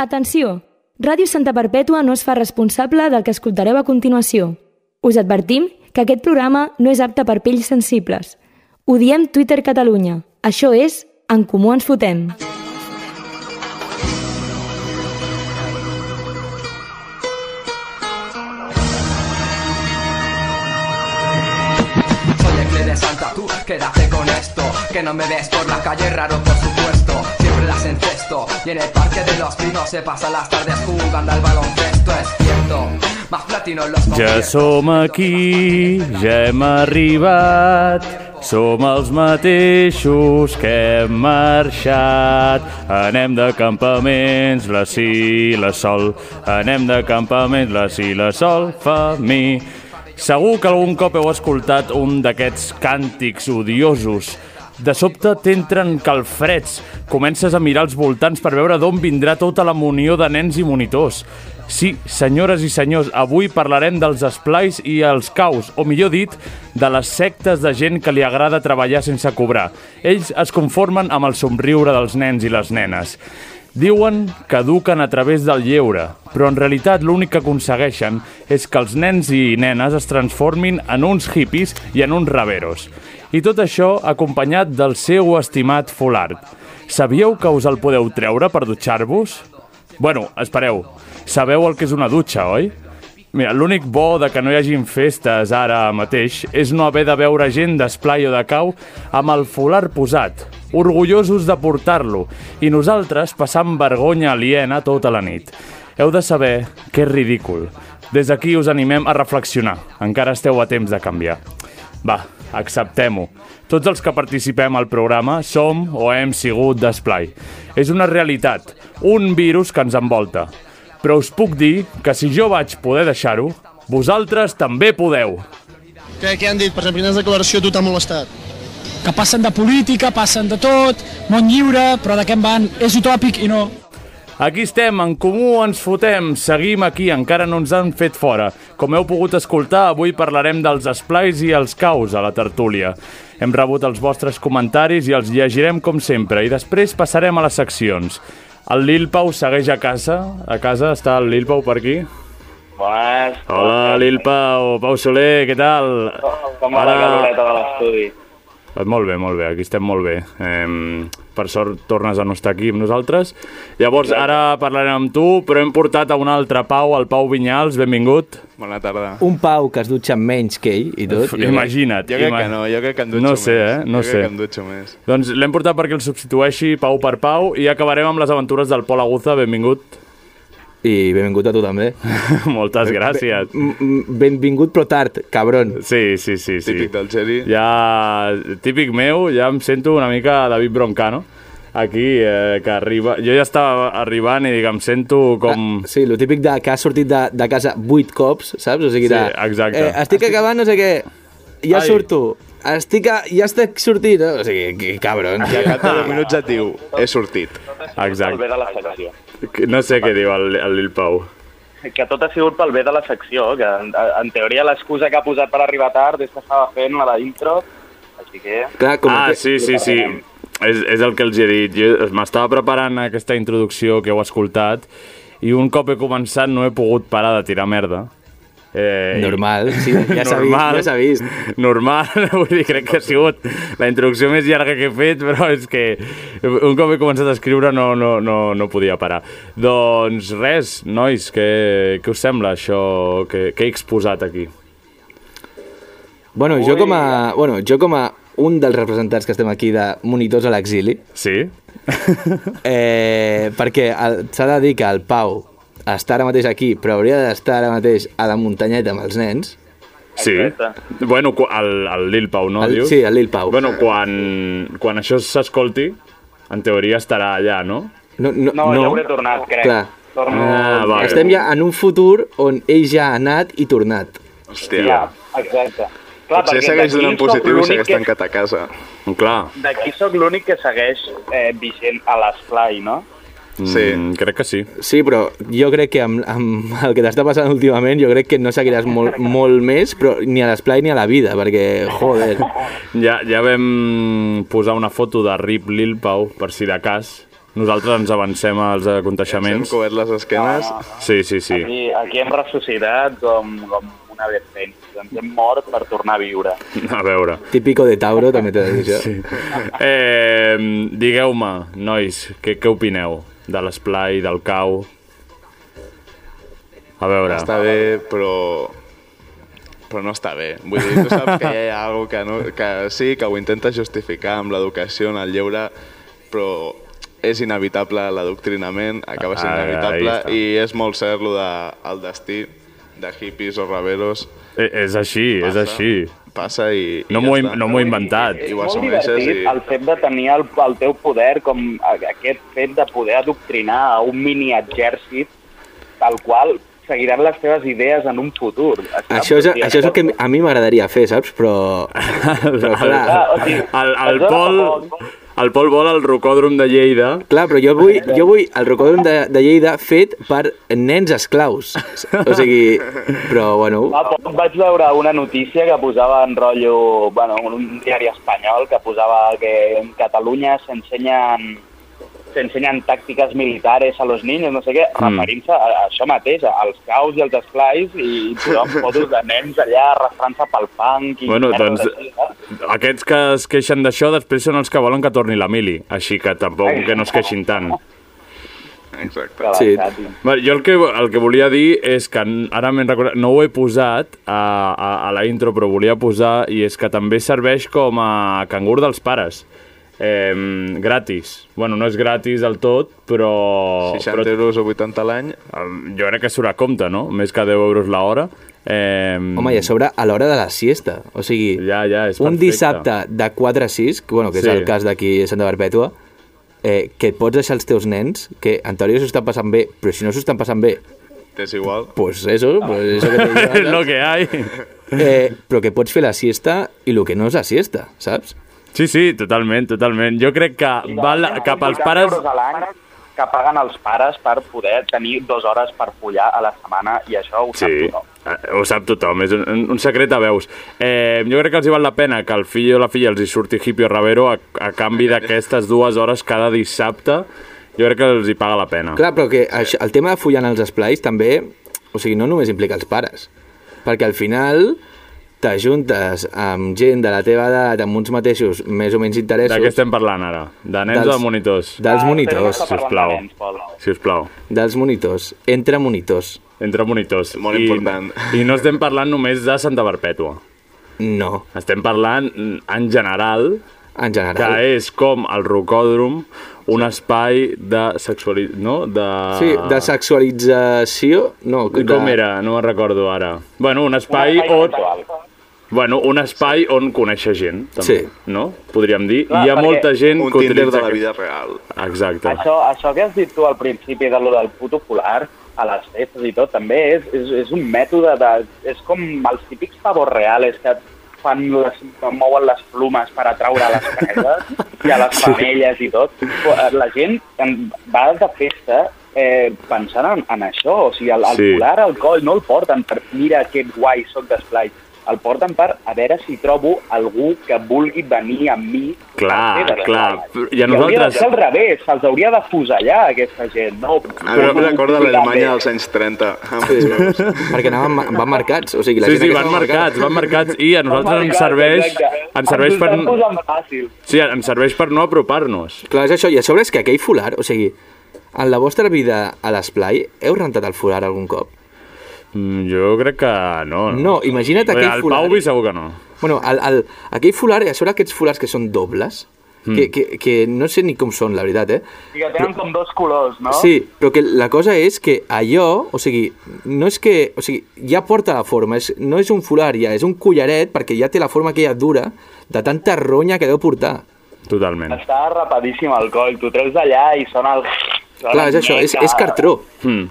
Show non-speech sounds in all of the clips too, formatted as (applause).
Atenció! Ràdio Santa Perpètua no es fa responsable del que escoltareu a continuació. Us advertim que aquest programa no és apte per pells sensibles. Ho diem Twitter Catalunya. Això és En Comú Ens Fotem. Soy el clé de Santa, tú quédate con esto Que no me ves por la calle, raro por supuesto Siempre las encesto Y en el parque de los pinos se pasan las tardes jugando al baloncesto Es cierto, más platino en los Ja conciertos. som aquí, ja hem arribat, som els mateixos que hem marxat. Anem de campaments, la sí, la sol. Anem de campaments, la sí, la sol, fa mi. Segur que algun cop heu escoltat un d'aquests càntics odiosos. De sobte t'entren calfreds. Comences a mirar als voltants per veure d'on vindrà tota la munió de nens i monitors. Sí, senyores i senyors, avui parlarem dels esplais i els caus, o millor dit, de les sectes de gent que li agrada treballar sense cobrar. Ells es conformen amb el somriure dels nens i les nenes. Diuen que eduquen a través del lleure, però en realitat l'únic que aconsegueixen és que els nens i nenes es transformin en uns hippies i en uns raveros. I tot això acompanyat del seu estimat folart. Sabíeu que us el podeu treure per dutxar-vos? Bueno, espereu. Sabeu el que és una dutxa, oi? Mira, l'únic bo de que no hi hagin festes ara mateix és no haver de veure gent d'esplai o de cau amb el folar posat, orgullosos de portar-lo, i nosaltres passant vergonya aliena tota la nit. Heu de saber que és ridícul. Des d'aquí us animem a reflexionar. Encara esteu a temps de canviar. Va, acceptem-ho. Tots els que participem al programa som o hem sigut d'esplai. És una realitat, un virus que ens envolta. Però us puc dir que si jo vaig poder deixar-ho, vosaltres també podeu. Què, què han dit? Per exemple, quines declaracions tu t'ha molestat? que passen de política, passen de tot, món lliure, però de què en van? És utòpic i no. Aquí estem, en comú ens fotem, seguim aquí, encara no ens han fet fora. Com heu pogut escoltar, avui parlarem dels esplais i els caus a la tertúlia. Hem rebut els vostres comentaris i els llegirem com sempre, i després passarem a les seccions. El Lil Pau segueix a casa, a casa està el Lil Pau per aquí. Bones. Hola, Lil Pau, Pau Soler, què tal? Com va la caloreta de l'estudi? Eh, Molt bé, molt bé, aquí estem molt bé. Eh, per sort tornes a no estar aquí amb nosaltres. Llavors, ara parlarem amb tu, però hem portat a un altre Pau, el Pau Vinyals, benvingut. Bona tarda. un Pau que es dutxa menys que ell i tot. i- Imagina't. Jo crec ima- que no, jo crec que em dutxo No sé, més. eh? No jo sé. crec que em dutxo més. Doncs l'hem portat perquè el substitueixi Pau per Pau i acabarem amb les aventures del Pol Aguza, benvingut. (laughs) I benvingut a tu també. Moltes Eh, gràcies. M- m- Benvingut però tard, cabron. Sí, sí, sí. sí. Típic del Geri. Ja, típic meu, ja em sento una mica David Broncano, aquí, eh, que arriba... Jo ja estava arribant i dic, em sento com... Ah, Sí, lo típic de que has sortit de, de casa vuit cops, saps? O sigui, de, Sí, exacte. Eh, estic acabant, no sé què, ja Ai. Ai. surto. Estic a, ja estic sortint, eh? o sigui, que cabron. Ah. I a cap de 10 minuts et diu, he sortit. Pel Exacte. bé de la secció. No sé què diu el, el Lil Pau. Que tot ha sigut pel bé de la secció, que en, en teoria l'excusa que ha posat per arribar tard és que estava fent la intro, així que... Clar, com ah, que- sí, sí, sí. És, és el que els he dit. Jo m'estava preparant aquesta introducció que heu escoltat i un cop he començat no he pogut parar de tirar merda. Eh, i- Normal, sí, ja s'ha vist, Normal. ja s'ha vist. normal, (laughs) vull dir, crec que ha sigut la introducció més llarga que he fet, però és que un cop he començat a escriure no, no, no, no podia parar. Doncs res, nois, què, què us sembla això que, que he exposat aquí? Bueno, jo com a, bueno, jo com a un dels representants que estem aquí de monitors a l'exili, Sí? Eh, perquè el- s'ha de dir que el Pau està ara mateix aquí, però hauria d'estar ara mateix a la muntanyeta amb els nens. Sí. Exacte. Bueno, cu- el, el Lil Pau, no? El- Ah, dius? sí, el Lil Pau. Bueno, quan, quan això s'escolti, en teoria estarà allà, no? No, no, No, no. ja hauré tornat, crec. Clar. Torno... Ah, vale. Estem ja en un futur on ell ja ha anat i tornat. Ja, Hòstia. exacte. Clar, Potser perquè segueix d'aquí donant sóc positiu i l'únic segueix que- tancat a casa. Clar. D'aquí sóc l'únic que segueix eh, vigent a l'esplai, no? Sí. Mm, crec que sí. Sí, però jo crec que amb, amb el que t'està passant últimament, jo crec que no seguiràs molt, molt més, però ni a l'esplai ni a la vida, perquè, joder... Ja, ja vam posar una foto de Rip Lil Pau, per si de cas, Nosaltres ens avancem als Hem aconteixements. cobert les esquenes. Ah. Sí, sí, sí. Aquí, aquí hem ressuscitat com, com una vez fent. Ens hem mort per tornar a viure. A veure. Típico de Tauro, també t'he de dir això. Sí. Eh, Digueu-me, nois, què, què opineu de l'esplai, del cau? A veure, Està bé, però... Però no està bé. Vull dir, tu saps que hi ha alguna que, no, que sí, que ho intentes justificar amb l'educació, en el lleure, però és inevitable l'adoctrinament, acaba sent Ah, inevitable, ahí està. i és molt cert lo de, el destí de hippies o raveros. eh, és així, és Passa. així. Passa i... No i m'ho he- està. no m'ho he inventat. I És ho molt assumeixes divertit i- el fet de tenir el, el teu poder, com a- aquest fet de poder adoctrinar a un mini exèrcit tal qual seguiran les teves idees en un futur. Això, és, això és el que a mi m'agradaria fer, saps? Però, però clar, o sigui, El, el, es dona Pol, poc. el Pol vol el rocòdrom de Lleida. clar, però jo vull, jo vull el rocòdrom de, de Lleida fet per nens esclaus. O sigui, però bueno... Fa poc Ah, vaig veure una notícia que posava en rotllo, bueno, en un diari espanyol que posava que en Catalunya s'ensenyen s'ensenyen tàctiques militares a los niños, no sé què, Mm. mm. referint-se a, a això mateix, als caus i als esplais i posant (laughs) fotos de nens allà arrastrant-se pel fang i... Bueno, merdes doncs, així, no? Aquests que es queixen d'això després són els que volen que torni la mili, així que tampoc que no es queixin tant. Exacte. Que sí. avançat, i- Bé, jo el que, el que volia dir és que n- ara m'he recordat, no ho he posat a, a, a la intro, però volia posar, i és que també serveix com a cangur dels pares. Eh, gratis. Bueno, no és gratis del tot, Oh, però... 60 però euros o 80 a l'any, eh, jo crec que surt a compte, no? Més que 10 euros l'hora. Eh, Home, i a sobre a l'hora de la siesta. O sigui, Ja, ja, és un perfecte. dissabte de 4 a 6, que, bueno, que és Sí. sí. el cas d'aquí a Santa Perpètua, eh, que et pots deixar els teus nens, que en teoria s'ho estan passant bé, però si no s'ho estan passant bé, t'és igual. pues eso, pues eso que te digo (laughs) és antes. lo que hay. Ah. eh, però que pots fer la siesta i el que no és la siesta, saps? Sí, sí, totalment, totalment. Jo crec que val cap als 80 pares... euros a l'any que paguen els pares per poder tenir dues hores per follar a la setmana i això ho sap Sí, tothom. eh, ho sap tothom, és un, un secret a veus. Eh, jo crec que els hi val la pena que el fill o la filla els hi surti hippie o ravero a, a canvi d'aquestes dues hores cada dissabte. Jo crec que els hi paga la pena. Clar, però que això, el tema de follant als esplais també, o sigui, no només implica els pares, perquè al final t'ajuntes amb gent de la teva edat, amb uns mateixos més o menys interessos, De què estem parlant ara? De nens Dels- o de monitors? dels Però no monitors, Ah, està parlant de sisplau. nens, Pol. Si us plau, dels monitors, entre monitors, entre monitors. Molt I, important. I no estem parlant només de Santa Perpètua. no, Estem parlant, mm, en general, en que eh, general. és com el rocòdrom, un espai de sexualitat, no? De... Sí, de sexualització, no, de, ah. Com era? No me'n recordo ara. Bueno, un espai, Espai on... sexual. Bueno, un espai on conèixer gent, també, Sí. no? Podríem dir. Clar, Hi ha perquè molta gent Un que Tinder de utilitza... la aquest- vida real. Exacte. Això, això que has dit tu al principi de lo del puto polar, a les festes i tot, també és, és, és un mètode de... És com els típics favors reales que fan les, mouen les plumes per atraure les cases i a les femelles i tot. La gent en- va de festa eh, pensant en, en això. O sigui, el, el Sí. sí. polar al coll no el porten per mira que guai soc d'esplai. El porten per a veure si trobo algú que vulgui venir amb mi Clar, Sí, de clar. veritat. I a nosaltres- Hauria de ser al revés, se'ls hauria de fusellar, aquesta gent. No, Ah, A mi em recorda l'Alemanya dels dels... anys 30. Amb els meus. perquè anaven, ma- van marcats, o sigui, la Sí, gent sí, que van estava marcats, van marcats. I a nosaltres ens serveix, ens serveix per... Fàcil. Sí, ens serveix per no apropar-nos. Clar, és això, i a sobre és que aquell folar, o sigui, en la vostra vida a l'esplai, heu rentat el folar algun cop? Mm, Jo crec que no. No, imagina't Bé, aquell El folar. Pauvi segur que no. Bueno, el, el, aquell folar, a sobre aquests folars que són dobles, mm. Hmm. que, que, que no sé ni com són, la veritat, eh? I que tenen com dos colors, no? Sí, però que la cosa és que allò, o sigui, no és que... O sigui, ja porta la forma, és, no és un folar ja, és un collaret perquè ja té la forma aquella dura de tanta ronya que deu portar. Totalment. Està rapadíssim el coll. Tu treus d'allà i sona el... (laughs) sona Clar, és això, és, mica. és cartró. Mm.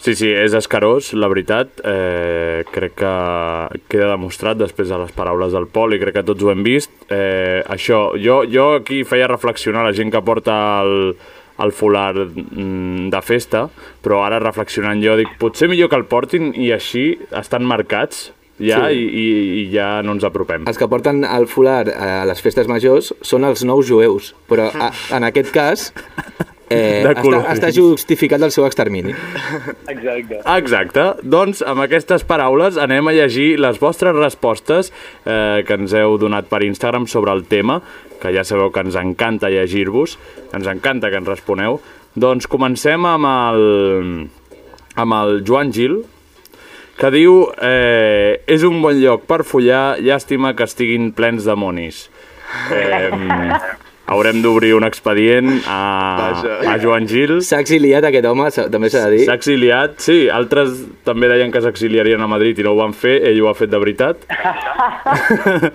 Sí, sí, és escarós, la veritat. Eh, crec que queda demostrat després de les paraules del Pol i crec que tots ho hem vist. Eh, això, jo, jo aquí feia reflexionar la gent que porta el, el folar mm, de festa, però ara reflexionant jo dic, potser millor que el portin i així estan marcats ja, sí. Sí. i, i, i ja no ens apropem. Els que porten el folar a les festes majors són els nous jueus, però a, en aquest cas eh, De està, colorins. està justificat el seu extermini. Exacte. Exacte. Doncs amb aquestes paraules anem a llegir les vostres respostes eh, que ens heu donat per Instagram sobre el tema, que ja sabeu que ens encanta llegir-vos, ens encanta que ens responeu. Doncs comencem amb el, amb el Joan Gil, que diu eh, és un bon lloc per follar, llàstima que estiguin plens de monis. Eh, haurem d'obrir un expedient a, Vaja. a Joan Gil. S'ha exiliat aquest home, s'ha- també s'ha de dir. S'ha exiliat, sí, altres també deien que s'exiliarien a Madrid i no ho van fer, ell ho ha fet de veritat.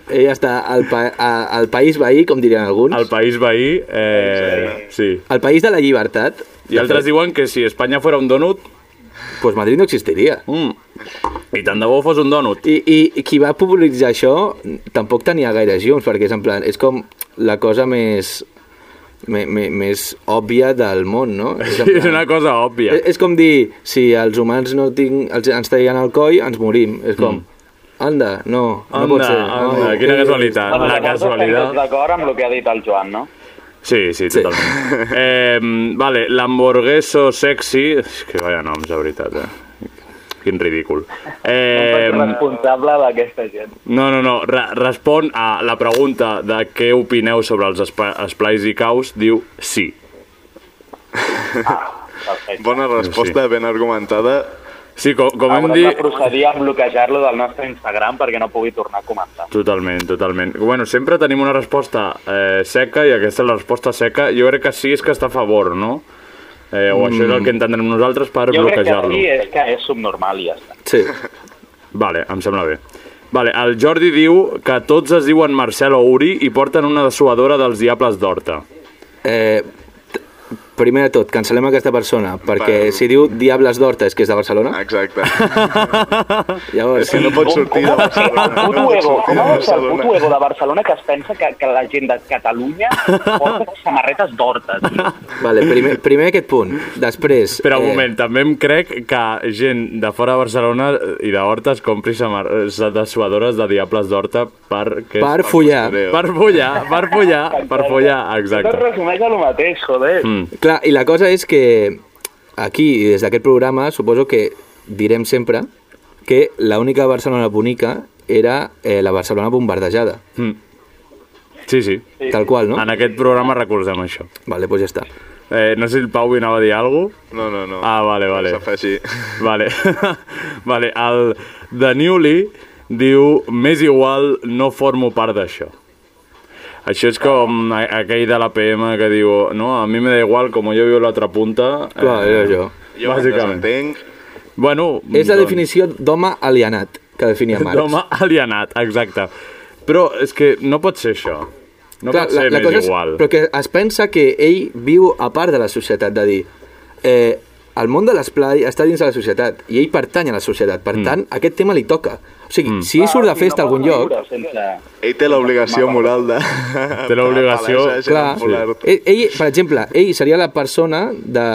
Ell està al, pa a, al país veí, com dirien alguns, Al al, país veí, eh, sí. país de la llibertat. I altres diuen que si Espanya fora un donut, Doncs pues Madrid no existiria. mm, i tant de bo fos un donut. I, i, I qui va popularitzar això tampoc tenia gaire junts, perquè és en plan, és com la cosa més, me, me, més òbvia del món, (laughs) no? en És plan- una cosa òbvia. És, és com dir, si els humans no tinc, els, ens traien el coll, ens morim. És com, anda, no, no Mm. Anda, pot ser. anda, Ai, quina eh, casualitat, la llavors estem tots Ah, casualitat. d'acord amb el que ha dit el Joan, no? Sí, sí, Sí. totalment. Eh, vale, l'hamburgueso sexy... És que vaya noms, de veritat, eh? Quin ridícul. Eh, Em faig responsable d'aquesta gent. No, no, no. Re respon a la pregunta de què opineu sobre els espa- esplais i caus. Diu sí. Perfecte. Bona resposta, ben argumentada. Sí, com, com hem Haurem de dit... Ah, procedir a bloquejar-lo del nostre Instagram perquè no pugui tornar a comentar. Totalment, totalment. Bueno, sempre tenim una resposta eh, seca i aquesta és la resposta seca. Jo crec que sí és que està a favor, no? Eh, o això és el que entendrem nosaltres per Mm. Jo crec que bloquejar-lo. sí, eh. és que és subnormal i ja està. Sí, Vale, em sembla bé. Vale, el Jordi diu que tots es diuen Marcel o Uri i porten una dessuadora dels Diables d'Horta. eh, t- primer de tot, cancel·lem aquesta persona, perquè si diu Diables d'Horta és que és de Barcelona, (laughs) Exacte. llavors... És que no pot sortir de El Barcelona. puto no pot ego, sortir com de ha de ser el Barcelona. puto ego de Barcelona que es pensa que, que la gent de Catalunya porta samarretes d'horta, tio. Vale, primer, primer aquest punt. Després... Espera un eh, moment, també em crec que gent de fora de Barcelona i d'Horta es compri samar- eh, dessuadores de Diables d'Horta per... Que Per follar. postureo. Per follar, per follar, per follar, Tot es exacte. resumeix a lo mateix, joder. Mm. Clar, i la cosa és que aquí, des d'aquest programa, suposo que direm sempre que l'única Barcelona bonica era eh, la Barcelona bombardejada. Sí, sí. Tal qual, no? En aquest programa recolzem això. Vale, doncs ja està. Eh, no sé si el Pau hi anava a dir alguna cosa. No, no, no. Ah, vale, vale. S'afegir. Vale. (laughs) vale, el de Newly diu més igual no formo part d'això. Això és com a- aquell de l'APM que diu no, a mi me da igual, com jo viu a l'altra punta... Clar, era jo. Jo bàsicament. Entenc. Bueno, És la definició d'home alienat que definia Marx. doncs. D'home alienat, exacte. Però és que no pot ser això. No pot ser més cosa és- igual. Però que es pensa que ell viu a part de la societat, de dir... Eh, el món de l'esplai està dins de la societat i ell pertany a la societat, Mm. per tant, aquest tema li toca. O sigui, si ell Ah, surt de festa a algun lloc, Sense... Ell té l'obligació moral de... Té l'obligació- Clar, Sí. ell, ell, per exemple, ell seria la persona de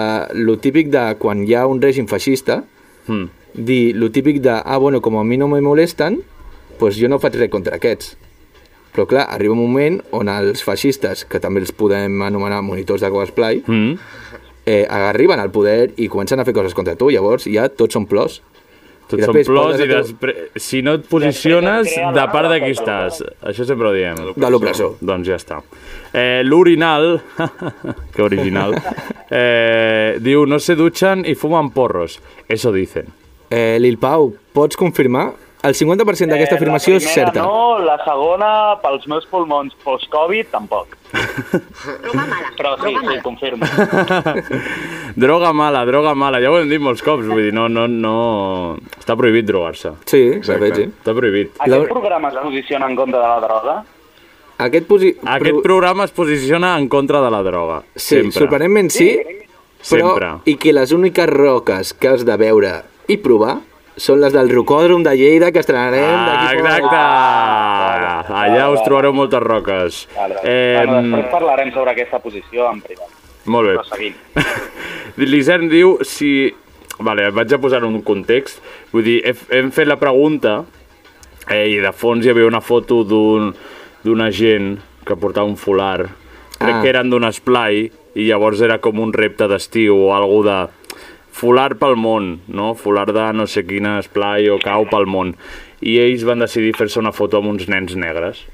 lo típic de quan hi ha un règim feixista, Mm. dir lo típic de, ah, bueno, com a mi no me molesten, pues jo no faig res contra aquests. Però clar, arriba un moment on els feixistes, que també els podem anomenar monitors de cosplay, Mm. eh, arriben al poder i comencen a fer coses contra tu, llavors ja tots són plors. Tots I són després plors poses i a tu- després... Si no et posiciones, de part de qui estàs. Això sempre ho diem. De l'opressor. Doncs ja està. Eh, L'orinal, (laughs) que original, (laughs) eh, diu no se dutxen i fumen porros. Eso dicen. (laughs) Eh, Lil Pau, pots confirmar? El 50% d'aquesta Eh, la afirmació és primera certa. No, la segona, pels meus pulmons post-Covid, tampoc. Però sí, sí, confirmo. droga mala, droga mala. Ja ho hem dit molts cops, vull dir, no, no, no... Està prohibit drogar-se. Sí, de fet, sí. Està prohibit. Aquest programa es posiciona en contra de la droga? Aquest, posi... Aquest pro- programa es posiciona en contra de la droga. Sí, sempre. sorprenentment sí, però Sempre. i que les úniques roques que has de veure i provar són les del rocòdrom de Lleida que estrenarem Ah, d'aquí poc. exacte! Allà us trobareu moltes roques. Vale. Eh, bueno, mm. després Eh, parlarem sobre aquesta posició en privat. molt Però bé. seguim. L'Isern diu si... Vale, vaig a posar un context. Vull dir, he- hem fet la pregunta Eh, I de fons hi havia una foto d'un d'una gent que portava un folar. Crec Ah. que eren d'un esplai i llavors era com un repte d'estiu o algo de folar pel món, no? Folar de no sé quin esplai o cau pel món. I ells van decidir fer-se una foto amb uns nens negres.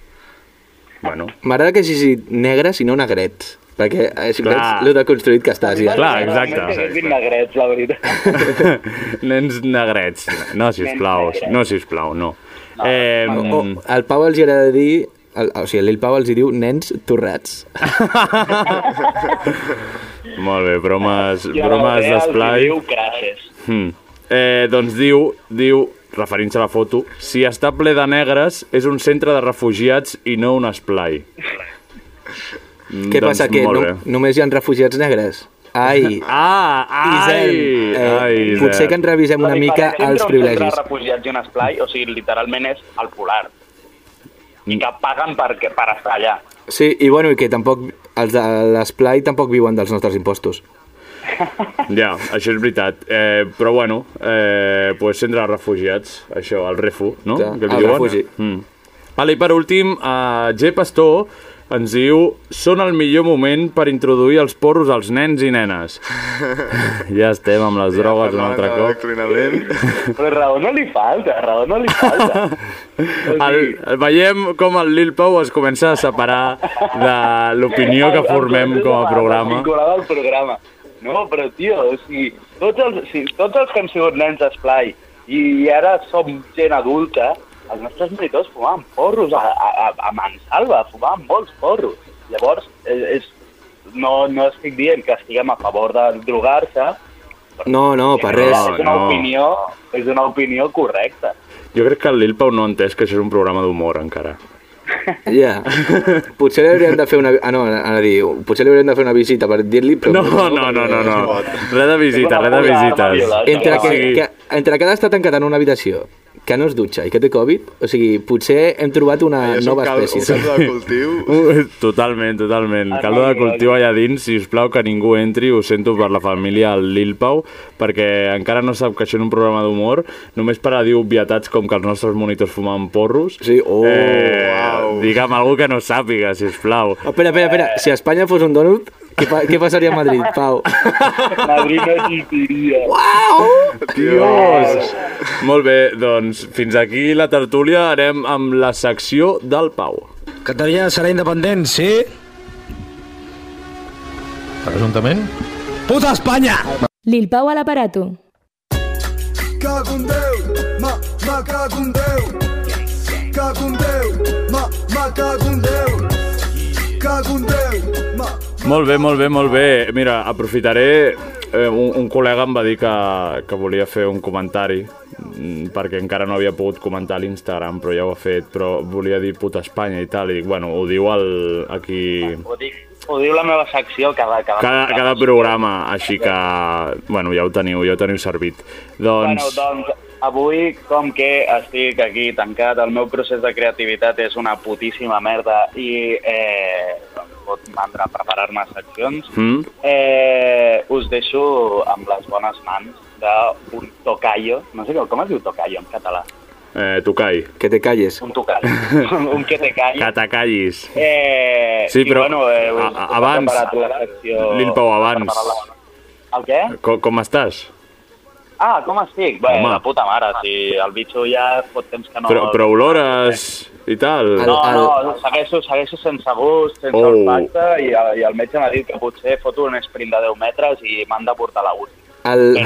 Bueno, M'agrada que hagi dit negre, si no negrets. Perquè eh, si Clar. veig lo de construït que estàs. Ja. Clar, Realment que exacte. siguin negrets, la (laughs) veritat. Nens negrets. No, sisplau, Nens negres. no, sisplau, no. Eh, O, el Pau els hi agrada dir... El, o sigui, l'Il Pau els hi diu nens torrats. Mm, oh, molt bé, bromes, I a la bromes Bea els d'esplai. diu Gràcies. Mm. Eh, doncs diu, diu referint-se a la foto, si està ple de negres és un centre de refugiats i no un esplai. Mm, Què passa, que molt no, bé. només hi ha refugiats negres? Ai, Ah, ai, Isel, eh, ai, Isel. potser que ens revisem una La mica diferència entre els un centre de privilegis. refugiats i un esplai, o sigui, literalment és el polar. I que paguen per, per estar allà. Sí, i bueno, i que tampoc els de l'esplai tampoc viuen dels nostres impostos. Ja, això és veritat. Eh, però bueno, eh, pues centre de refugiats, això, el refu, no? Clar, Que li el diuen. refugi. Mm. Vale, i per últim, eh, G. Pastor ens diu són el millor moment per introduir els porros als nens i (laughs) nenes. ja estem amb les drogues un altre cop. Eh, (laughs) Però raó no li falta, raó no li (laughs) falta. El, el, veiem com el Lil Pau es comença a separar de l'opinió que formem com a programa. Vinculada al programa. No, però, tio, o sigui, tots els, si, tots els que hem sigut nens d'esplai i ara som gent adulta, els nostres monitors fumaven porros a, a, a, a Mansalva, fumaven molts porros. Llavors, eh, és, és, no, no estic dient que estiguem a favor de drogar-se, No, no, per però res. és una, no. opinió, és una opinió correcta. Jo crec que el Lil Pau no ha entès que això és un programa d'humor encara. Ja. Potser li hauríem de fer una... Ah, no, anava a dir, potser li hauríem de fer una visita per dir-li... però- No, no, no, no, no. Res de visita, res de visites. Entre que, sigui- que, entre que ha estat tancat en una habitació, que no es dutxa i que té Covid, o sigui, potser hem trobat una És un, nova cal, un espècie. caldo de cultiu. Uh, Totalment, totalment. Caldo de cultiu allà dins, si us plau que ningú entri, ho sento per la família al Lil Pau, perquè encara no sap que això és un programa d'humor, només per a dir obvietats com que els nostres monitors fumaven porros. Sí, oh, uau. Digue'm algú que no sàpiga, si us plau. Oh, espera, espera, espera. Si Espanya fos un donut, què, pa, què passaria a Madrid, Pau? Madrid no existiria. Dios! Molt bé, doncs fins aquí la tertúlia, anem amb la secció del Pau. Catalunya serà independent, sí? Presumptament? Puta Espanya! Lil Pau a l'aparato. Molt bé, molt bé, molt bé. Mira, aprofitaré... Eh, un, un col·lega em va dir que, que volia fer un comentari mm, perquè encara no havia pogut comentar a l'Instagram, però ja ho ha fet, però volia dir puta Espanya i tal, i dic, bueno, ho diu el, aquí... Ho, dic, ho diu la meva secció cada... Cada, Cada, cada programa, així que... Bueno, ja ho teniu, ja ho teniu servit. Bueno, Doncs... doncs, avui, com que estic aquí tancat, el meu procés de creativitat és una putíssima merda i eh, em pot mandra preparar-me seccions, Mm? eh, us deixo amb les bones mans d'un tocayo, no sé com es diu tocayo en català, Eh, Tocai, Que te calles. un (laughs) tocayo, un que te calli. que t'acallis. Eh, Sí, i, però bueno, eh, us- a- us a- he abans, preparat la secció- Lil Pau, abans. El què? Com, com estàs? Ah, com estic? Bé, Home. la puta mare, si el bitxo ja fot temps que no... Però, però olores i tal? El- No, no, segueixo, segueixo sense gust, sense Oh. oh. olfacte, i, el- i el metge m'ha dit que potser foto un sprint de 10 metres i m'han de portar a la UCI. El, el,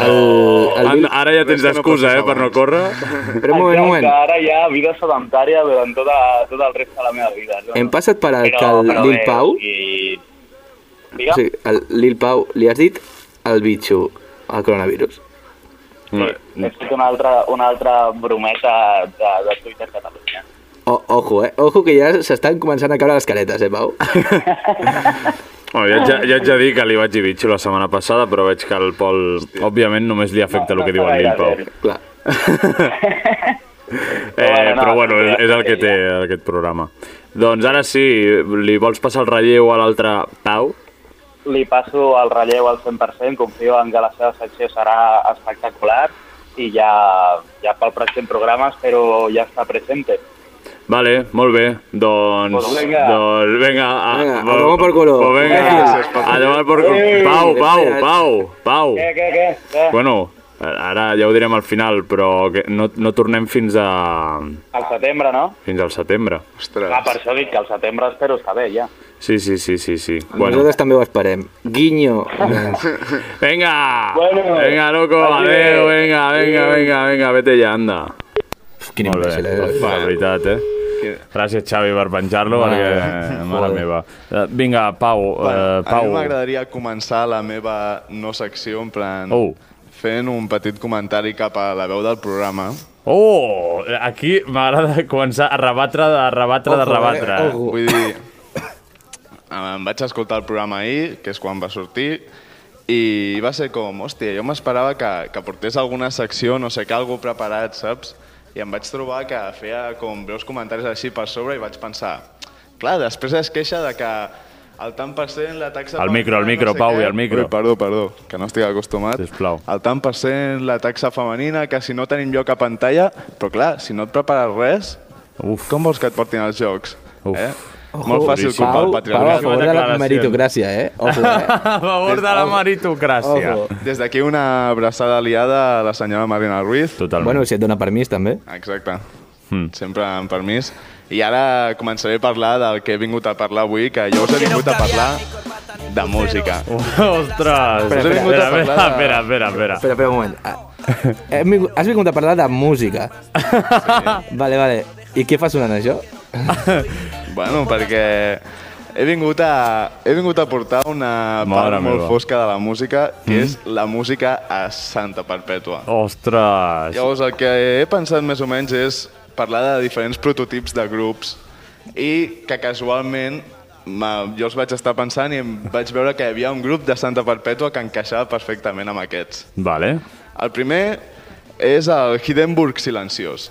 el, An- el, Ara ja tens Res que no excusa, passes eh, per no abans. córrer. (laughs) però un moment, un moment. Exacte, Ara ja vida sedentària durant tot, tot el reste de la meva vida. No? Hem passat per al que el Lil Pau... I... O Digue'm, sí. sigui, el Lil Pau, li has dit el bitxo, el coronavirus. he fet una altra, una altra brometa de, de Twitter Catalunya. O, ojo, eh? Ojo que ja s'estan començant a caure les caretes, eh, Pau? Bueno, ja, ja, ja haig de dir que li vaig dir bitxo la setmana passada, però veig que el Pol, òbviament, només li afecta el que diu el Lil Pau. Clar. Eh, però bueno, és, és el que té aquest programa. Doncs ara sí, li vols passar el relleu a l'altre Pau? li passo el relleu al 100%, confio en que la seva secció serà espectacular y ya, ya para el próximo programa espero ya estar presente. Vale, molt bé. Doncs... Pues venga. Doncs vinga. A, Vinga, a tomar por culo. Pues venga. Venga. A tomar por culo. Ei. Pau, Pau, Pau, Pau. ¿Qué, qué, qué? ¿Qué? Bueno, ara ja ho direm al final, però que no, no tornem fins a... Al setembre, no? fins al setembre. Ostres. Ah, Eh, per això dic que al setembre espero estar bé, ja. Sí, sí, sí, sí, sí. Bueno. Bueno, Nosaltres també ho esperem. Guinyo. venga! Bueno. Venga, loco, adeu, venga, venga, venga, venga, vete ja, anda. Quin Molt bé, imbècil, eh? la veritat, eh? Gràcies, Xavi, per penjar-lo, perquè, eh, mare meva. Eh, Vinga, Pau, eh, Bueno, a mi Pau. m'agradaria començar la meva no secció, en plan... Oh. Fent un petit comentari cap a la veu del programa. Oh, aquí m'agrada començar a rebatre, a rebatre, de rebatre. eh? Ojo. Vull dir, (coughs) em vaig escoltar el programa ahir, que és quan va sortir, i va ser com, hòstia, jo m'esperava que, que portés alguna secció, no sé què, algú preparat, saps? I em vaig trobar que feia com breus comentaris així per sobre i vaig pensar, clar, després es queixa de que el tant per cent, la taxa... Al micro, al femenina, micro, sé Pau, què. i al micro. Ui, perdó, perdó, que no estic acostumat. Sisplau. El tant per cent, la taxa femenina, que si no tenim lloc a pantalla... Però clar, si no et prepares res, Uf. com vols que et portin els jocs? Uf. Eh? Molt fàcil duríssim. culpar Pau, el Pau, a patriarcat. favor de la declaracions. meritocràcia, eh? Ojo, eh? A favor de la meritocràcia. Ojo. Des d'aquí una abraçada aliada a la senyora Marina Ruiz. (laughs) Totalment. Bueno, si et dona permís, també. Exacte. Hmm. Mm. Sempre amb permís. I ara començaré a parlar del que he vingut a parlar avui, que jo us he vingut a parlar de música. Ostres! Però he vingut espera, a espera, parlar de- espera, espera, espera. Espera, espera un moment. Ah, hem vingut- Has vingut a parlar de música. Vale, vale. I què fa sonant això? Bueno, perquè he vingut a, he vingut a portar una part Mare molt meva. Hmm. fosca de la música, que mm. és la música a Santa Oh. Perpètua. Ostres! Llavors, el que he pensat més o menys és parlar de diferents prototips de grups i que casualment ma- jo els vaig estar pensant i em vaig veure que hi havia un grup de Santa Perpètua que encaixava perfectament amb aquests. Vale. (laughs) El primer és el Hindenburg Silenciós.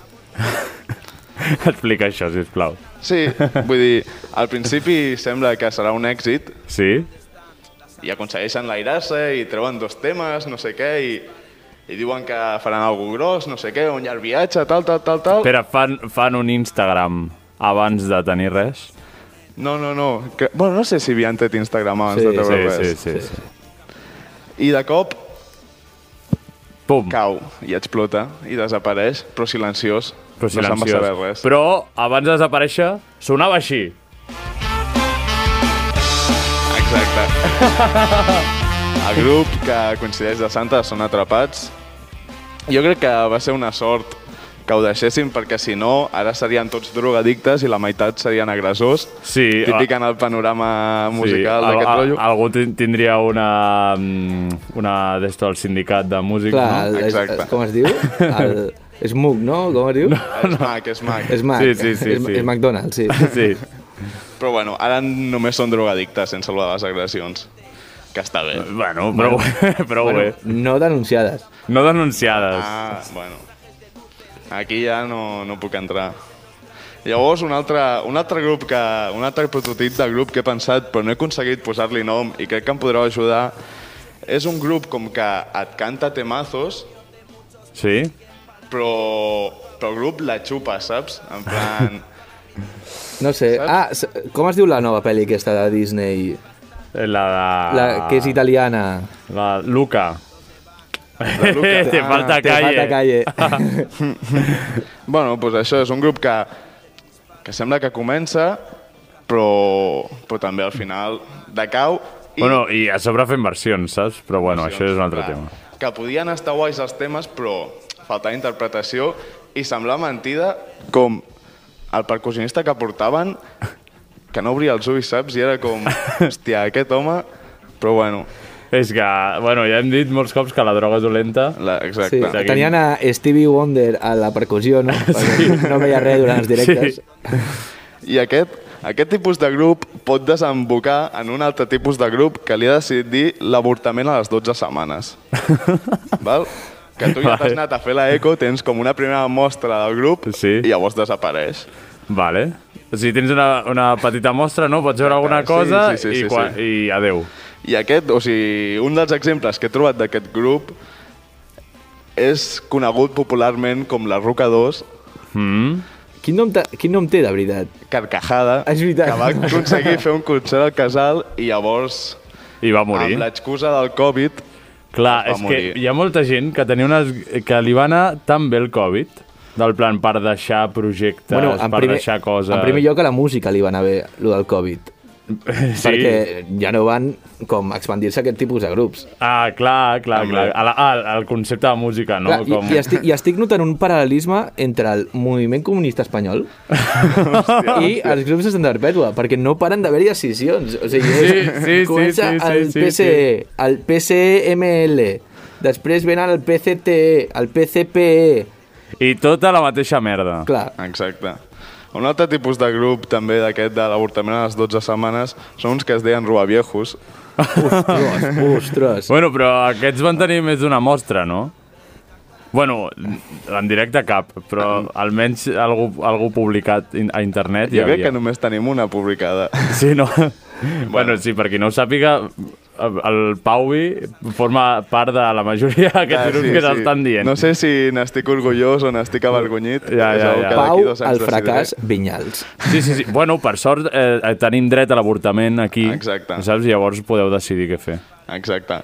Explica això, sisplau. Sí, vull dir, al principi sembla que serà un èxit Sí? i aconsegueixen l'airar-se i treuen dos temes, no sé què, i, i diuen que faran alguna gros, no sé què, on hi ha el viatge, tal, tal, tal, tal. Espera, fan, fan un Instagram abans de tenir res? No, no, no. Que, bueno, no sé si havien tret Instagram abans Sí, de treure Sí, res. sí, sí. sí. I de cop Pum. cau i explota i desapareix, però silenciós. Però No se'n va saber silenciós. res. Però abans de desaparèixer, sonava així. Exacte. (laughs) El grup que coincideix de Santa són atrapats. Jo crec que va ser una sort que ho deixessin, perquè si no, ara serien tots drogadictes i la meitat serien agressors. Sí, Típic ah. en el panorama musical al- d'aquest al- rotllo. Algú tin- tindria una... mm, una d'esto al sindicat de músics, Clar, no? el- és- Exacte. com es diu? El, és MUC, no? Com es diu? És mac, és mac. És Mac. Sí, sí, sí, és, sí. és McDonald's, sí. (laughs) Sí. Però bueno, ara només són drogadictes, sense lo de les agressions. Que està bé. Bueno, prou, (laughs) prou bé. No denunciades. No denunciades. Ah, bueno. Aquí ja no, no puc entrar. Llavors, un altre, un altre grup que, un altre prototip de grup que he pensat, però no he aconseguit posar-li nom i crec que em podreu ajudar, és un grup com que et canta temazos, Sí? però, però el grup la xupa, saps? En plan... No sé. Ah, s- com es diu la nova pel·li aquesta de Disney? La de... La, que és italiana. La Luca. La Luca. (laughs) Te falta Ah, Te calle. (laughs) falta calle. Bueno, doncs això és un grup que, que sembla que comença, però, però també al final decau. I Bueno, i a sobre fent versions, saps? Però bueno, això és un altre clar, tema. Que podien estar guais els temes, però faltava interpretació i semblava mentida com el percussionista que portaven que no obria els ulls, saps? I era com, hòstia, aquest home... Però bueno, És que, bueno, ja hem dit molts cops que la droga és dolenta. la, Sí, exacte. Seguim. tenien a Stevie Wonder a la percussió, (laughs) no? Sí. No veia res durant els directes. Sí. I aquest, aquest tipus de grup pot desembocar en un altre tipus de grup que li ha decidit dir l'avortament a les 12 (laughs) setmanes. Val? Que tu ja t'has Vale. anat a fer la eco, tens com una primera mostra del grup Sí. i llavors desapareix. Vale. O sigui, tens una, una petita mostra, no? Pots veure alguna Sí, cosa sí, sí, i, sí, quan, sí. i adeu. I aquest, o sigui, un dels exemples que he trobat d'aquest grup és conegut popularment com la Ruca 2, Mm. Quin nom, ta- quin nom té, de veritat? Carcajada, És veritat. que va aconseguir fer un concert al casal i llavors, I va amb morir. l'excusa del Covid, Clar, es va és morir. que hi ha molta gent que tenia unes... que li va anar tan bé el Covid, del plan per deixar projectes, per deixar coses... en primer lloc a la música li va anar bé, lo del Covid. (laughs) sí. Perquè ja no van com expandir-se aquest tipus de grups. Ah, clar, clar, clar. A la, ah, el concepte de música, no? Clar, i, i, estic, I estic notant un paral·lelisme entre el moviment comunista espanyol i els grups de Santa Perpètua, perquè no paren d'haver-hi decisions. O sigui, Sí, és- sí, sí, comença sí, sí, el sí, PCE, el PCML, després venen el PCTE, E, el PCPE... I tota la mateixa merda. E. Clar, Exacte. Un altre tipus de grup també d'aquest de l'avortament a les 12 setmanes són uns que es deien Ruaviejos. ostres, ostres. Bueno, però aquests van tenir més d'una mostra, no? Bueno, en directe cap, però almenys algú, algú publicat in- a internet hi Jo crec havia. que només tenim una publicada. Sí, no? bueno, sí, per qui no ho sàpiga, el Pauvi forma part de la majoria d'aquests grups que s'estan dient. Ah, No sé si n'estic orgullós o n'estic avergonyit. Ja, ja, és algo ja. que d'aquí Pau, dos anys el decidiré. fracàs, Vinyals. Sí, sí, sí. Bueno, per sort eh, eh, tenim dret a l'avortament aquí. Exacte. Saps? Llavors podeu decidir què fer. Exacte.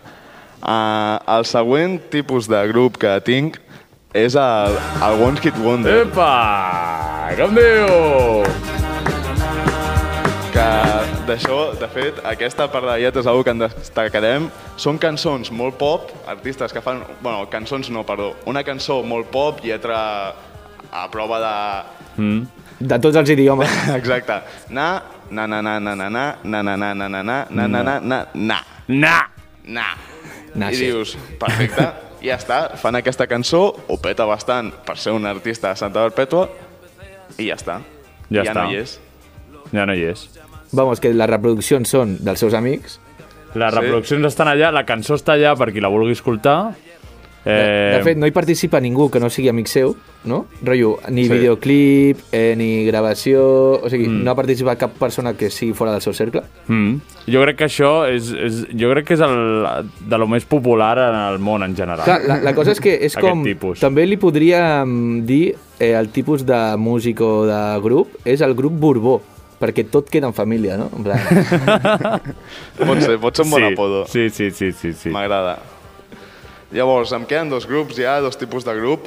Uh, el següent tipus de grup que tinc és el, el One Kid Wonder, Epa! Com diu? que d'això, de fet, aquesta part de llet és una que en destacarem. Són cançons molt pop, artistes que fan... Bueno, cançons no, perdó. Una cançó molt pop, lletra a prova de... De tots els (laughs) idiomes. Exacte. Na, na, na, na, na, na, na, na, na, na, na, na, na, na, na, na, na, na. Na! nah. Nah, I sí. dius, perfecte, ja està, fan aquesta cançó, ho peta bastant per ser un artista de Santa Perpètua, i ja està. Ja ja està. no hi és. Ja no hi és. Vamos, que les reproduccions són dels seus amics. Les Sí. reproduccions estan allà, la cançó està allà per qui la vulgui escoltar. De, Eh, de fet, no hi participa ningú que no sigui amic seu, no? Rotllo, ni Sí. sí. videoclip, eh, ni gravació... O sigui, mm. no ha participat cap persona que sigui fora del seu cercle. mm, jo crec que això és, és, jo crec que és el, de lo més popular en el món en general. Clar, la, (laughs) la cosa és que és Aquest com... tipus. També li podríem dir eh, el tipus de músic o de grup és el grup Borbó, perquè tot queda en família, no? En plan, Pot ser, pot ser un bon sí, apodo. Sí, sí, sí, sí. sí. M'agrada. Llavors, em queden dos grups ja, dos tipus de grup.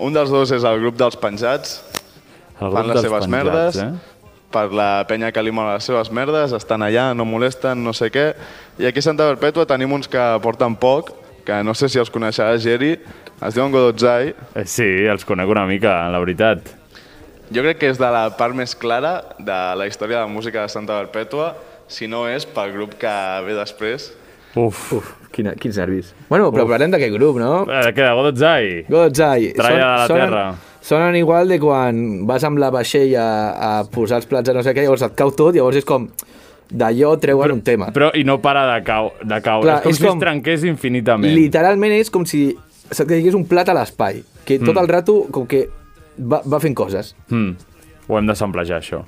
Un dels dos és el grup dels penjats, El grup fan les dels seves penjats, eh? merdes, per la penya que li mola les seves merdes, estan allà, no molesten, no sé què. I aquí a Santa Perpètua tenim uns que porten poc, que no sé si els coneixeràs, Geri, es diuen Godotzai. Eh? Sí, els conec una mica, la veritat. Jo crec que és de la part més clara de la història de la música de Santa Perpètua, si no és pel grup que ve després. Uf. Uf. quina, quins nervis. Bueno, però parlem d'aquest grup, no? Eh, queda Godotzai. Godzai. Tralla de la terra. Sonen igual de quan vas amb la vaixella a posar els plats a no sé què, llavors et cau tot, llavors és com d'allò treuen un tema. Però, i no para de, cau, de caure. Clar, és com és si com- es trenqués infinitament. Literalment és com si se't caigués un plat a l'espai, que tot el rato com que va, va fent coses. Mm. Ho hem de samplejar, això.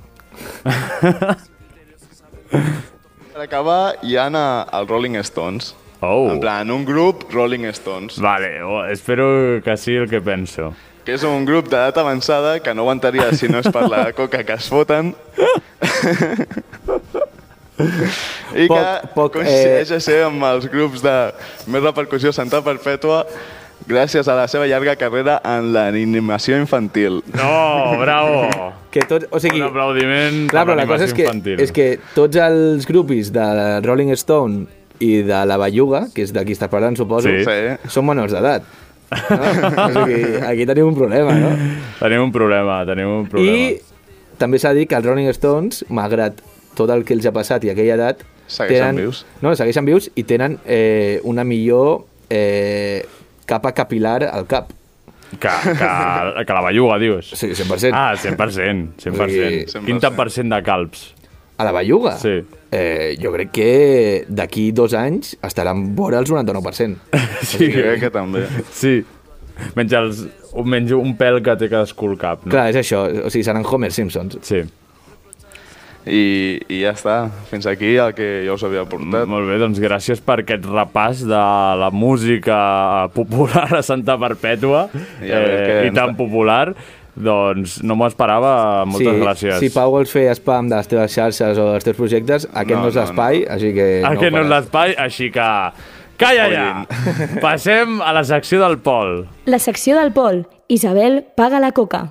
Per acabar, hi ha els Rolling Stones. Oh. En plan, un grup Rolling Stones. Vale, o- espero que sigui el que penso. que és un grup d'edat avançada que no aguantaria si no és per (laughs) la coca que es foten. I Poc- que poc, poc, coincideix eh, a ser amb els grups de més repercussió Santa Perpètua gràcies a la seva llarga carrera en l'animació infantil. No, (laughs) bravo! Que tot, o sigui, Un aplaudiment clar, per però la cosa és l'animació que, infantil. és que tots els grupis de Rolling Stone i de La Belluga, que és de qui estàs parlant, suposo, Sí. Sí. són menors d'edat. No? o sigui, aquí tenim un problema, no? Tenim un problema, tenim un problema. I també s'ha de dir que els Rolling Stones, malgrat tot el que els ha passat i aquella edat... Segueixen vius. No, segueixen vius i tenen eh, una millor eh, capa capilar al cap. Que, que, que la belluga, dius? O sigui, 100%. Ah, 100%, 100%. O 100%. sigui- Quin tant per cent de calps? A la belluga? Sí. Eh, jo crec que d'aquí dos anys estaran vora el 99%. Sí, Jo crec que també. sí. Menys, els, un- menys un pèl que té cadascú al cap, no? Clar, és això. O sigui, seran Homer Simpsons. Sí. I, I ja està, fins aquí el que jo us havia portat. Molt bé, doncs gràcies per aquest repàs de la música popular a Santa Perpètua I a veure eh, què i ens- tan popular. Doncs no m'ho esperava, moltes sí, gràcies. Si Pau vols fer spam de les teves xarxes o dels teus projectes, aquest No, no, no és no, l'espai, no. així que... Aquest Eh, Ah, no és l'espai, així que... Calla ja! (laughs) Passem a la secció del Pol. La secció del Pol. Isabel paga la coca.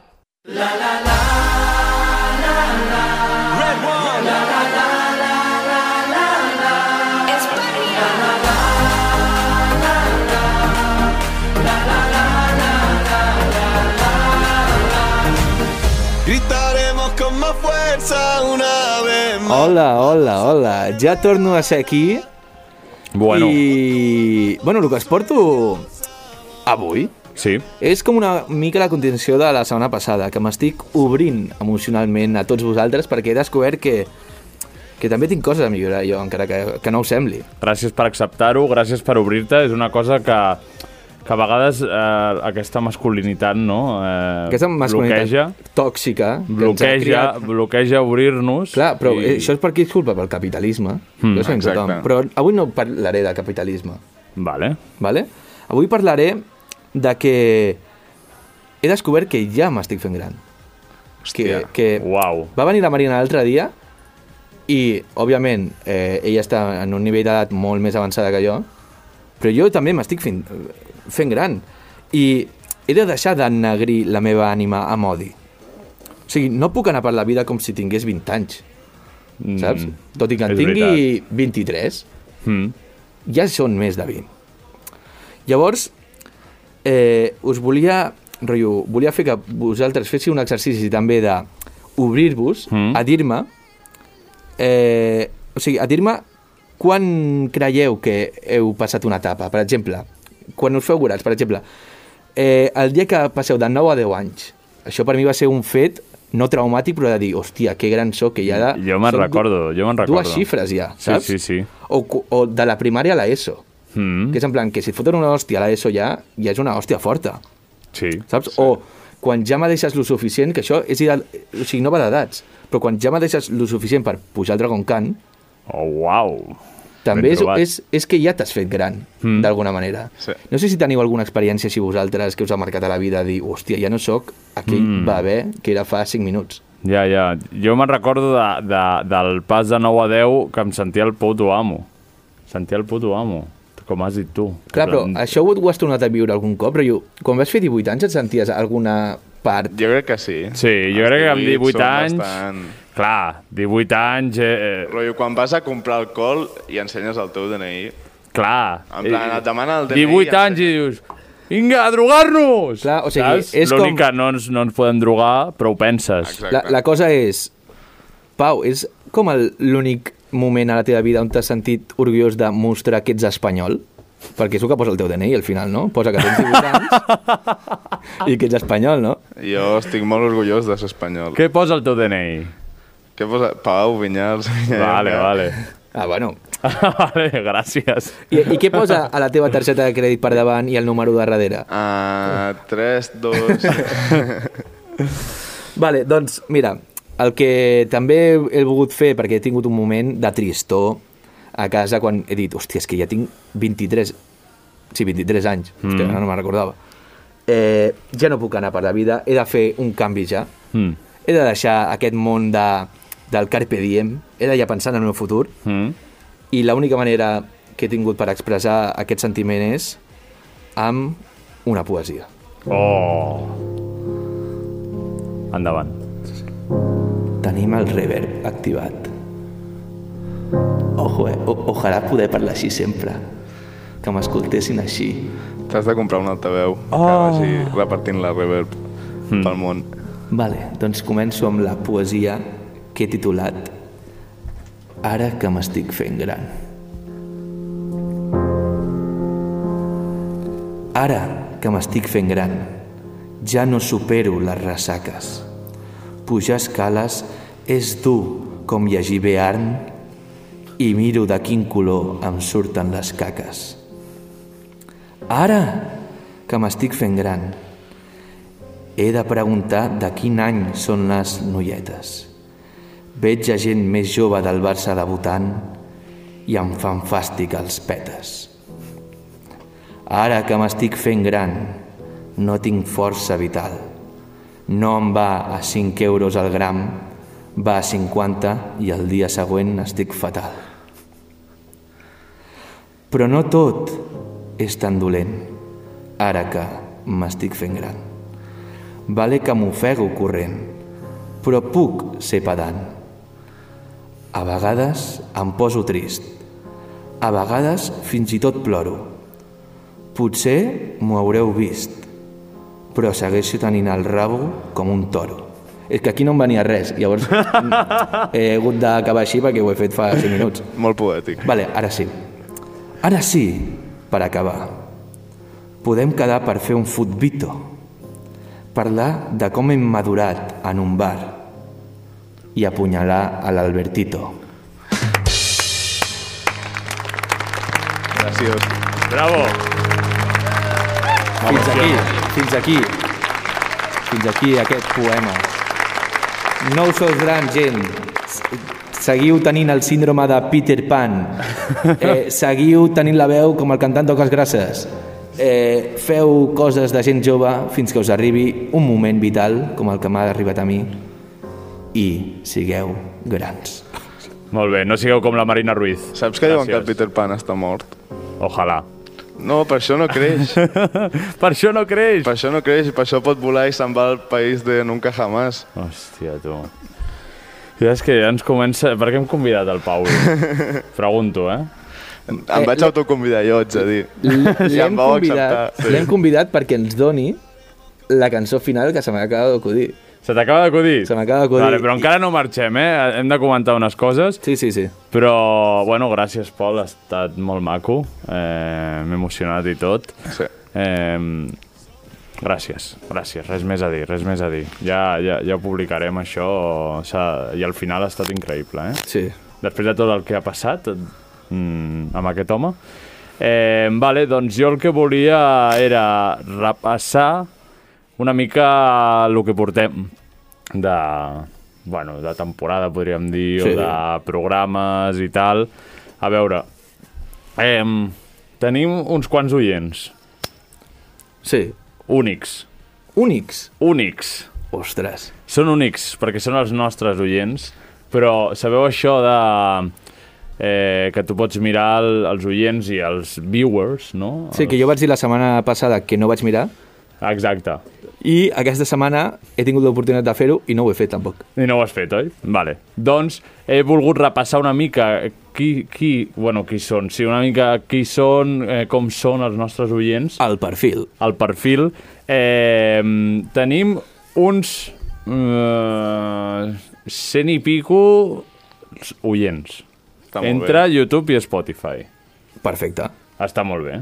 Gritaremos con más fuerza una vez más. Hola, hola, hola. Ja torno a ser aquí Bueno, I... i... Bueno, el que es porto avui sí. és com una mica la contenció de la setmana passada, que m'estic obrint emocionalment a tots vosaltres perquè he descobert que, que també tinc coses a millorar jo, encara que, que no ho sembli. Gràcies per acceptar-ho, gràcies per obrir-te. És una cosa que, que a vegades eh, aquesta masculinitat, no? Eh, Aquesta masculinitat Bloqueja, tòxica que ens ha bloqueja, criat bloqueja obrir-nos. Clar, però i- Hmm, I... això és per qui és culpa? Pel capitalisme. Mm, jo sé exacte. tothom. Però avui no parlaré de capitalisme, Vale. vale? Avui parlaré de que he descobert que ja m'estic fent gran. Que, que Uau. va venir la Marina l'altre dia i, òbviament, eh, ella està en un nivell d'edat molt més avançada que jo, però jo també m'estic fent, fent gran. I he de deixar d'ennegrir la meva ànima amb odi. O sigui, no puc anar per la vida com si tingués 20 anys saps? Tot i que en és tingui 23, Mm. ja són més de 20. Llavors, eh, us volia, rotllo, volia fer que vosaltres féssiu un exercici també de obrir-vos Mm. mm. a dir-me, eh, o sigui, a dir-me quan creieu que heu passat una etapa, per exemple, quan us feu gorats, per exemple, eh, el dia que passeu de 9 a 10 anys, això per mi va ser un fet no traumàtic, però de dir, hòstia, que gran soc, que ja... Ara Jo me'n són du- recordo, jo me'n recordo. Dues xifres ja, Sí, saps? sí, sí. O, cu- o de la primària a l'ESO, Mm. que és en plan que si et foten una hòstia a l'ESO ja, ja és una hòstia forta, Sí. saps? O quan ja me deixes lo suficient, que això és ideal, o sigui, no va d'edats, però quan ja me deixes lo suficient per pujar al Dragon Khan, Oh, uau. també Ben és, trobat. és, és que ja t'has fet gran, mm. d'alguna manera. Sí. No sé si teniu alguna experiència, si vosaltres, que us ha marcat a la vida, dir, hòstia, ja no sóc aquell mm. bebè que era fa 5 minuts. Ja, ja. Jo me'n recordo de, de, del pas de 9 a 10 que em sentia el puto amo. Sentia el puto amo, com has dit tu. Clar, però En plan, això ho, ho has tornat a viure algun cop, però jo, quan vas fer 18 anys et senties alguna part... Jo crec que sí. Sí, jo Els crec que amb 18 18 són anys... bastant- Clar, 18 anys... Eh, eh, Rotllo, quan vas a comprar alcohol i ensenyes el teu DNI, clar. En plan, eh, et demana el eh. DNI 18 i anys i dius... Vinga, a drogar-nos! Clar, o sigui, Saps? és L'únic com- que no ens, no ens podem drogar, però ho penses. Exacte. La, la cosa és... Pau, és com el- l'únic moment a la teva vida on t'has sentit orgullós de mostrar que ets espanyol? Perquè és el que posa el teu DNI al final, no? Posa que tens 18 anys i que ets espanyol, no? jo estic molt orgullós de ser espanyol. Què posa el teu DNI? (laughs) Què posa? Pau, Vinyals... (laughs) Vale, vale. (laughs) Ah, bueno. vale, gràcies. I, I què posa a la teva targeta de crèdit per davant i el número de darrere? Uh, 3, (laughs) 2... Vale, doncs, mira, el que també he volgut fer, perquè he tingut un moment de tristor a casa quan he dit, hòstia, és que ja tinc 23, sí, 23 anys, mm. hòstia, no me'n recordava. Eh, ja no puc anar per la vida, he de fer un canvi ja. Mm. He de deixar aquest món de, del carpe diem, he de ja pensar en el meu futur, Mm. i l'única manera que he tingut per expressar aquest sentiment és amb una poesia. Oh. Endavant. Tenim el reverb activat. Ojo, eh? o, ojalà poder parlar així sempre. Que m'escoltessin així. T'has de comprar un altaveu oh. que vagi repartint la reverb Hmm. mm. pel món. Vale, doncs començo amb la poesia que he titulat Ara que m'estic fent gran. Ara que m'estic fent gran, ja no supero les ressaques. Pujar escales és dur com llegir Bearn i miro de quin color em surten les caques. Ara que m'estic fent gran, he de preguntar de quin any són les noietes. Veig a gent més jove del Barça debutant i em fan fàstic els petes. Ara que m'estic fent gran, no tinc força vital. No em va a 5 euros al gram, va a 50 i el dia següent estic fatal. Però no tot és tan dolent, ara que m'estic fent gran. Vale que m'ofego corrent, però puc ser pedant. A vegades em poso trist, a vegades fins i tot ploro. Potser m'ho haureu vist, però segueixo tenint el rabo com un toro. És que aquí no em venia res, llavors mm, he hagut d'acabar així perquè ho he fet fa 5 minuts. Molt poètic. Vale, ara sí. Ara sí, per acabar. Podem quedar per fer un futbito. Parlar de com hem madurat en un bar i apunyalar a l'Albertito. Graciós. Bravo! Fins aquí, fins aquí, fins aquí aquest poema. No us sou gran, gent. S- Seguiu tenint el síndrome de Peter (laughs) Pan. Eh, seguiu tenint la veu com el cantant d'Oques Grasses. Eh, feu coses de gent jove fins que us arribi un moment vital com el que m'ha arribat a mi i sigueu (laughs) grans. Molt bé, no sigueu com la Marina Ruiz. Saps que diuen que el Gràcies. Peter Pan està mort? Ojalà. (laughs) No, per això no creix. per això no creix. per això no creix i per això pot volar i se'n va al país de nunca jamás. Hòstia, tu. Ja és que ja ens comença... Per què hem convidat el (laughs) Pau? Pregunto, eh? Em vaig autoconvidar jo, ets a dir. I em L'hem vau convidat, acceptar. l'hem convidat perquè ens doni la cançó final que se m'ha acabat d'acudir. Se t'acaba d'acudir? Se m'acaba d'acudir. Vale, però encara no marxem, eh? Hem de comentar unes coses. Sí, sí, sí. Però, bueno, gràcies, Pol, ha estat molt maco. Eh, M'he emocionat i tot. Sí. Eh, gràcies, gràcies. Res més a dir, res més a dir. Ja, ja, ja ho publicarem, això. o s'ha- I al final ha estat increïble, eh? Sí. Després de tot el que ha passat mm, amb aquest home. Eh, vale, doncs jo el que volia era repassar una mica el que portem de, bueno, de temporada, podríem dir, sí. Sí. o de programes i tal. A veure, eh, tenim uns quants oients, Sí. únics, Únics. únics. Ostres. Són únics, perquè són els nostres oients, però sabeu això de... Eh, que tu pots mirar el, els oients i els viewers, no? Sí, que jo vaig dir la setmana passada que no vaig mirar Exacte. i aquesta setmana he tingut l'oportunitat de fer-ho i no ho he fet tampoc. I no ho has fet, oi? Vale. Doncs he volgut repassar una mica qui, qui, bueno, qui són, sí, una mica qui són, eh, com són els nostres oients, El perfil. el perfil. Eh, tenim uns eh, cent i pico oients. Està molt entre bé. YouTube i Spotify. Perfecte. Està molt bé.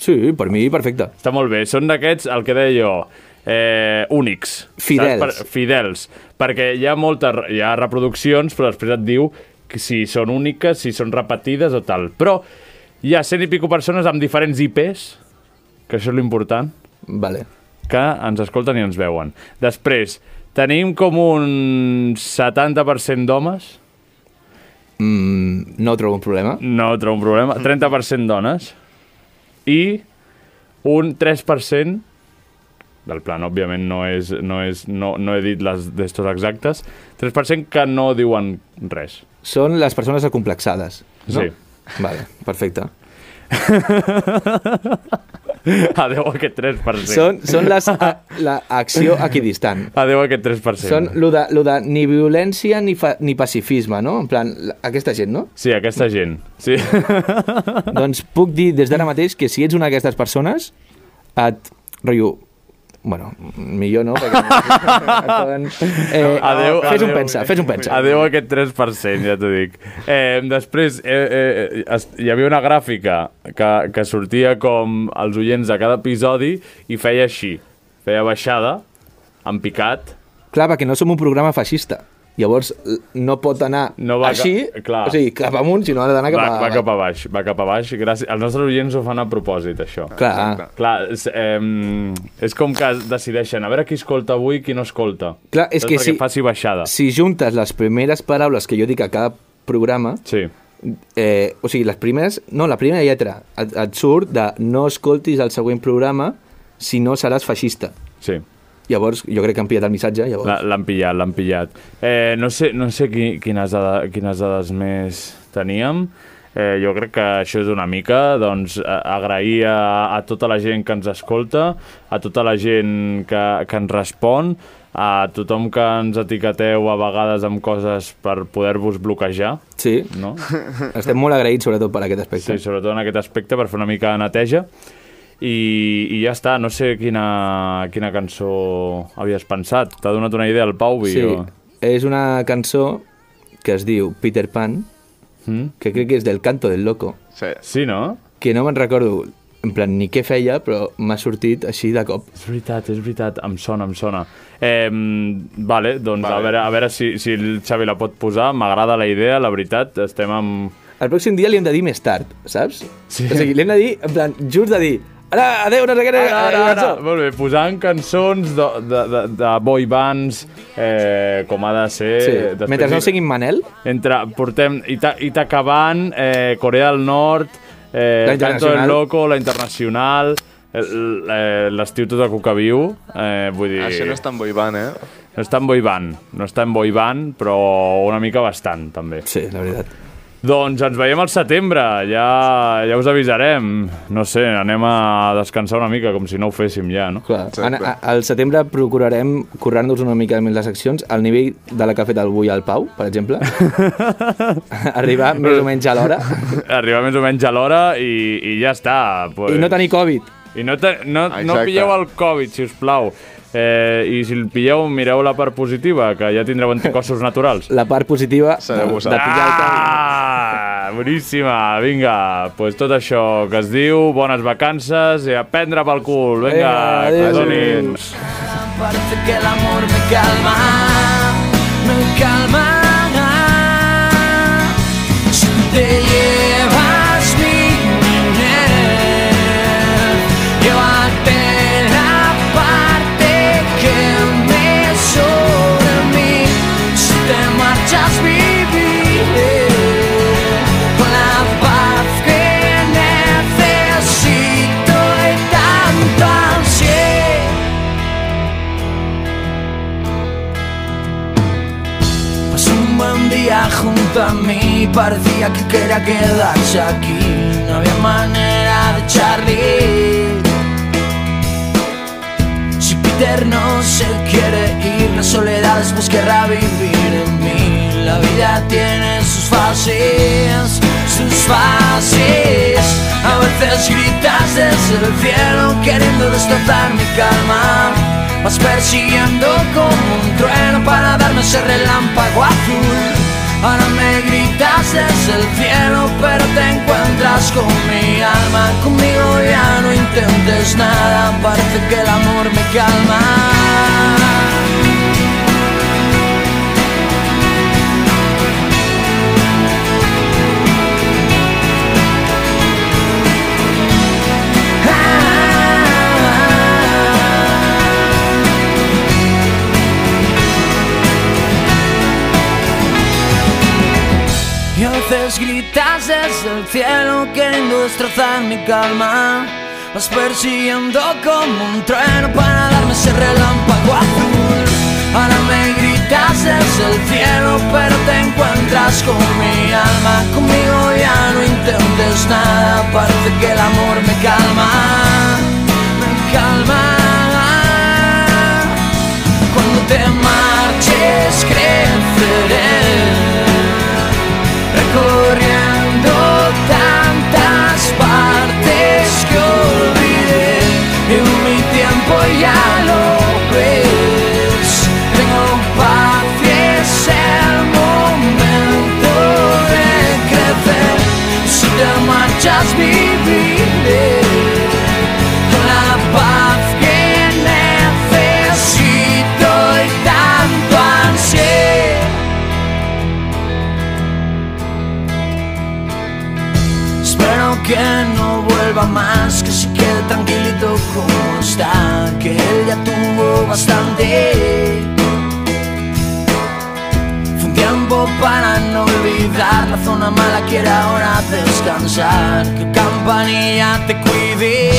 Sí, per mi perfecte. Està molt bé. Són d'aquests, el que deia jo, eh, únics. Saps? Fidels. fidels. Perquè hi ha moltes re- hi ha reproduccions, però després et diu que si són úniques, si són repetides o tal. Però hi ha cent i pico persones amb diferents IPs, que això és l'important, Vale. que ens escolten i ens veuen. Després, tenim com un 70% d'homes, Mm, no trobo un problema. no trobo un problema, Mm. 30% dones i un 3% del plan, òbviament no és, no, és, no, no he dit les d'estos exactes, 3% que no diuen (laughs) res. Són les persones acomplexades. No? Sí. Vale, perfecte. Adeu a aquest 3%. Són, són les, a, la acció equidistant. Adeu a aquest 3%. Són lo de, lo de ni violència ni, fa, ni pacifisme, no? En plan, la- aquesta gent, no? Sí, aquesta gent. Sí. (laughs) doncs puc dir des d'ara mateix que si ets una d'aquestes persones, et... Rotllo, bueno, millor no, (laughs) perquè... et poden, eh, Adeu, fes adeu. un pensa, fes un pensa. Adeu a aquest 3%, ja t'ho dic. Eh, després, eh, eh, es, hi havia una gràfica que, que sortia com els oients de cada episodi i feia així. Feia baixada, en picat. Clar, perquè no som un programa feixista. Llavors, l- no pot anar No va ca- així, clar. o sigui, cap amunt, sinó ha d'anar cap va, a... va cap a baix, va cap a baix. Gràcies. Els nostres oients ho fan a propòsit, això. Clar. Exacte. Clar, és, eh, és com que decideixen a veure qui escolta avui i qui no escolta. Clar, és Saps? que Perquè si- faci baixada. Si juntes les primeres paraules que jo dic a cada programa... Sí. Eh, o sigui, les primeres... No, la primera lletra et, et surt de no escoltis el següent programa si no seràs feixista. Sí. Llavors, jo crec que han pillat el missatge, llavors... La- L'han pillat, l'han pillat. Eh, no sé, no sé qui, quines, dada, quines dades més teníem. Eh, jo crec que això és una mica doncs, a- agrair a, a tota la gent que ens escolta, a tota la gent que, que ens respon, a tothom que ens etiqueteu a vegades amb coses per poder-vos bloquejar. Sí. No? Estem molt agraïts, sobretot, per aquest aspecte. Sí, sobretot en aquest aspecte, per fer una mica de neteja. I, i ja està, no sé quina, quina cançó havies pensat. T'ha donat una idea el Pau, Sí, o... és una cançó que es diu Peter Pan, Hmm? mm? que crec que és del canto del loco. Sí. sí no? Que no me'n recordo en plan ni què feia, però m'ha sortit així de cop. És veritat, és veritat, em sona, em sona. Eh, vale, doncs vale. a veure, a veure si, si el Xavi la pot posar, m'agrada la idea, la veritat, estem amb... El pròxim dia li hem de dir més tard, saps? Sí. O sigui, li hem de dir, en plan, just de dir, Eh, ara, adeu, no sé què, Ara, ara, ara. Molt bé, posant cançons de, de, de, de boy bands, eh, com ha de ser... Sí. eh, després- Mentre no siguin Manel, Entre, portem Ita, Itacaban, eh, Corea del Nord, eh, La el Canto del Internacional. Loco, la Internacional, el- eh, l'estiu tot a Cucaviu, eh, vull dir... Això no és tan boivant, eh? No està en boy band, no està en boy band, però una mica bastant, també. Sí, la veritat. Doncs ens veiem al setembre, ja, ja us avisarem. No sé, anem a descansar una mica, com si no ho féssim ja, (laughs) no? clar. Ana, a, al setembre procurarem currar-nos una mica més les seccions al nivell de la que ha fet el Bui al Pau, per (laughs) exemple. Arribar més o menys a l'hora Arribar més o menys a l'hora i, i ja està. Pues. i no tenir Covid. I no, te, no, no Exacte. pilleu el Covid, si us plau. Eh, I si el pilleu, mireu la part positiva, que ja tindreu anticossos naturals. La part positiva de, Sereu Ah, de vosaltres. pillar el Covid. Ah, boníssima, vinga, doncs pues tot això que es diu, bones vacances i a prendre pel cul, vinga, que Vinga, adéu. donin. Parece que el amor me calma, me calma. Si te llevas mi miel, llévate la parte que me sobra a mí. Si te marchas, viviré con la paz que necesito y tanto ansiedad. Pasó un buen día junto a mí, parecía que quería quedarse aquí. No había manera de Charlie. Si Peter no se quiere ir, la soledad después querrá vivir en mí. La vida tiene sus fases, sus fases. A veces gritas desde el cielo queriendo destrozar mi calma. Vas persiguiendo como un trueno para darme ese relámpago azul. Ahora me gritas desde el cielo, pero te encuentras con mi alma. Conmigo ya no intentes nada, parece que el amor me calma. Y a veces gritas desde el cielo queriendo destrozar mi calma. Vas persiguiendo como un trueno para darme ese relámpago azul. Ahora me gritas desde el cielo, pero te encuentras con mi alma. Conmigo ya no intentes nada, parece que el amor me calma. Me calma. Cuando te marches creceré recorriendo tantas partes que olvidé en mi tiempo ya lo ves tengo paz y es el momento de crecer si te marchas viviré con la paz que necesito y tanto ansiedad pensar que Campanilla te cuide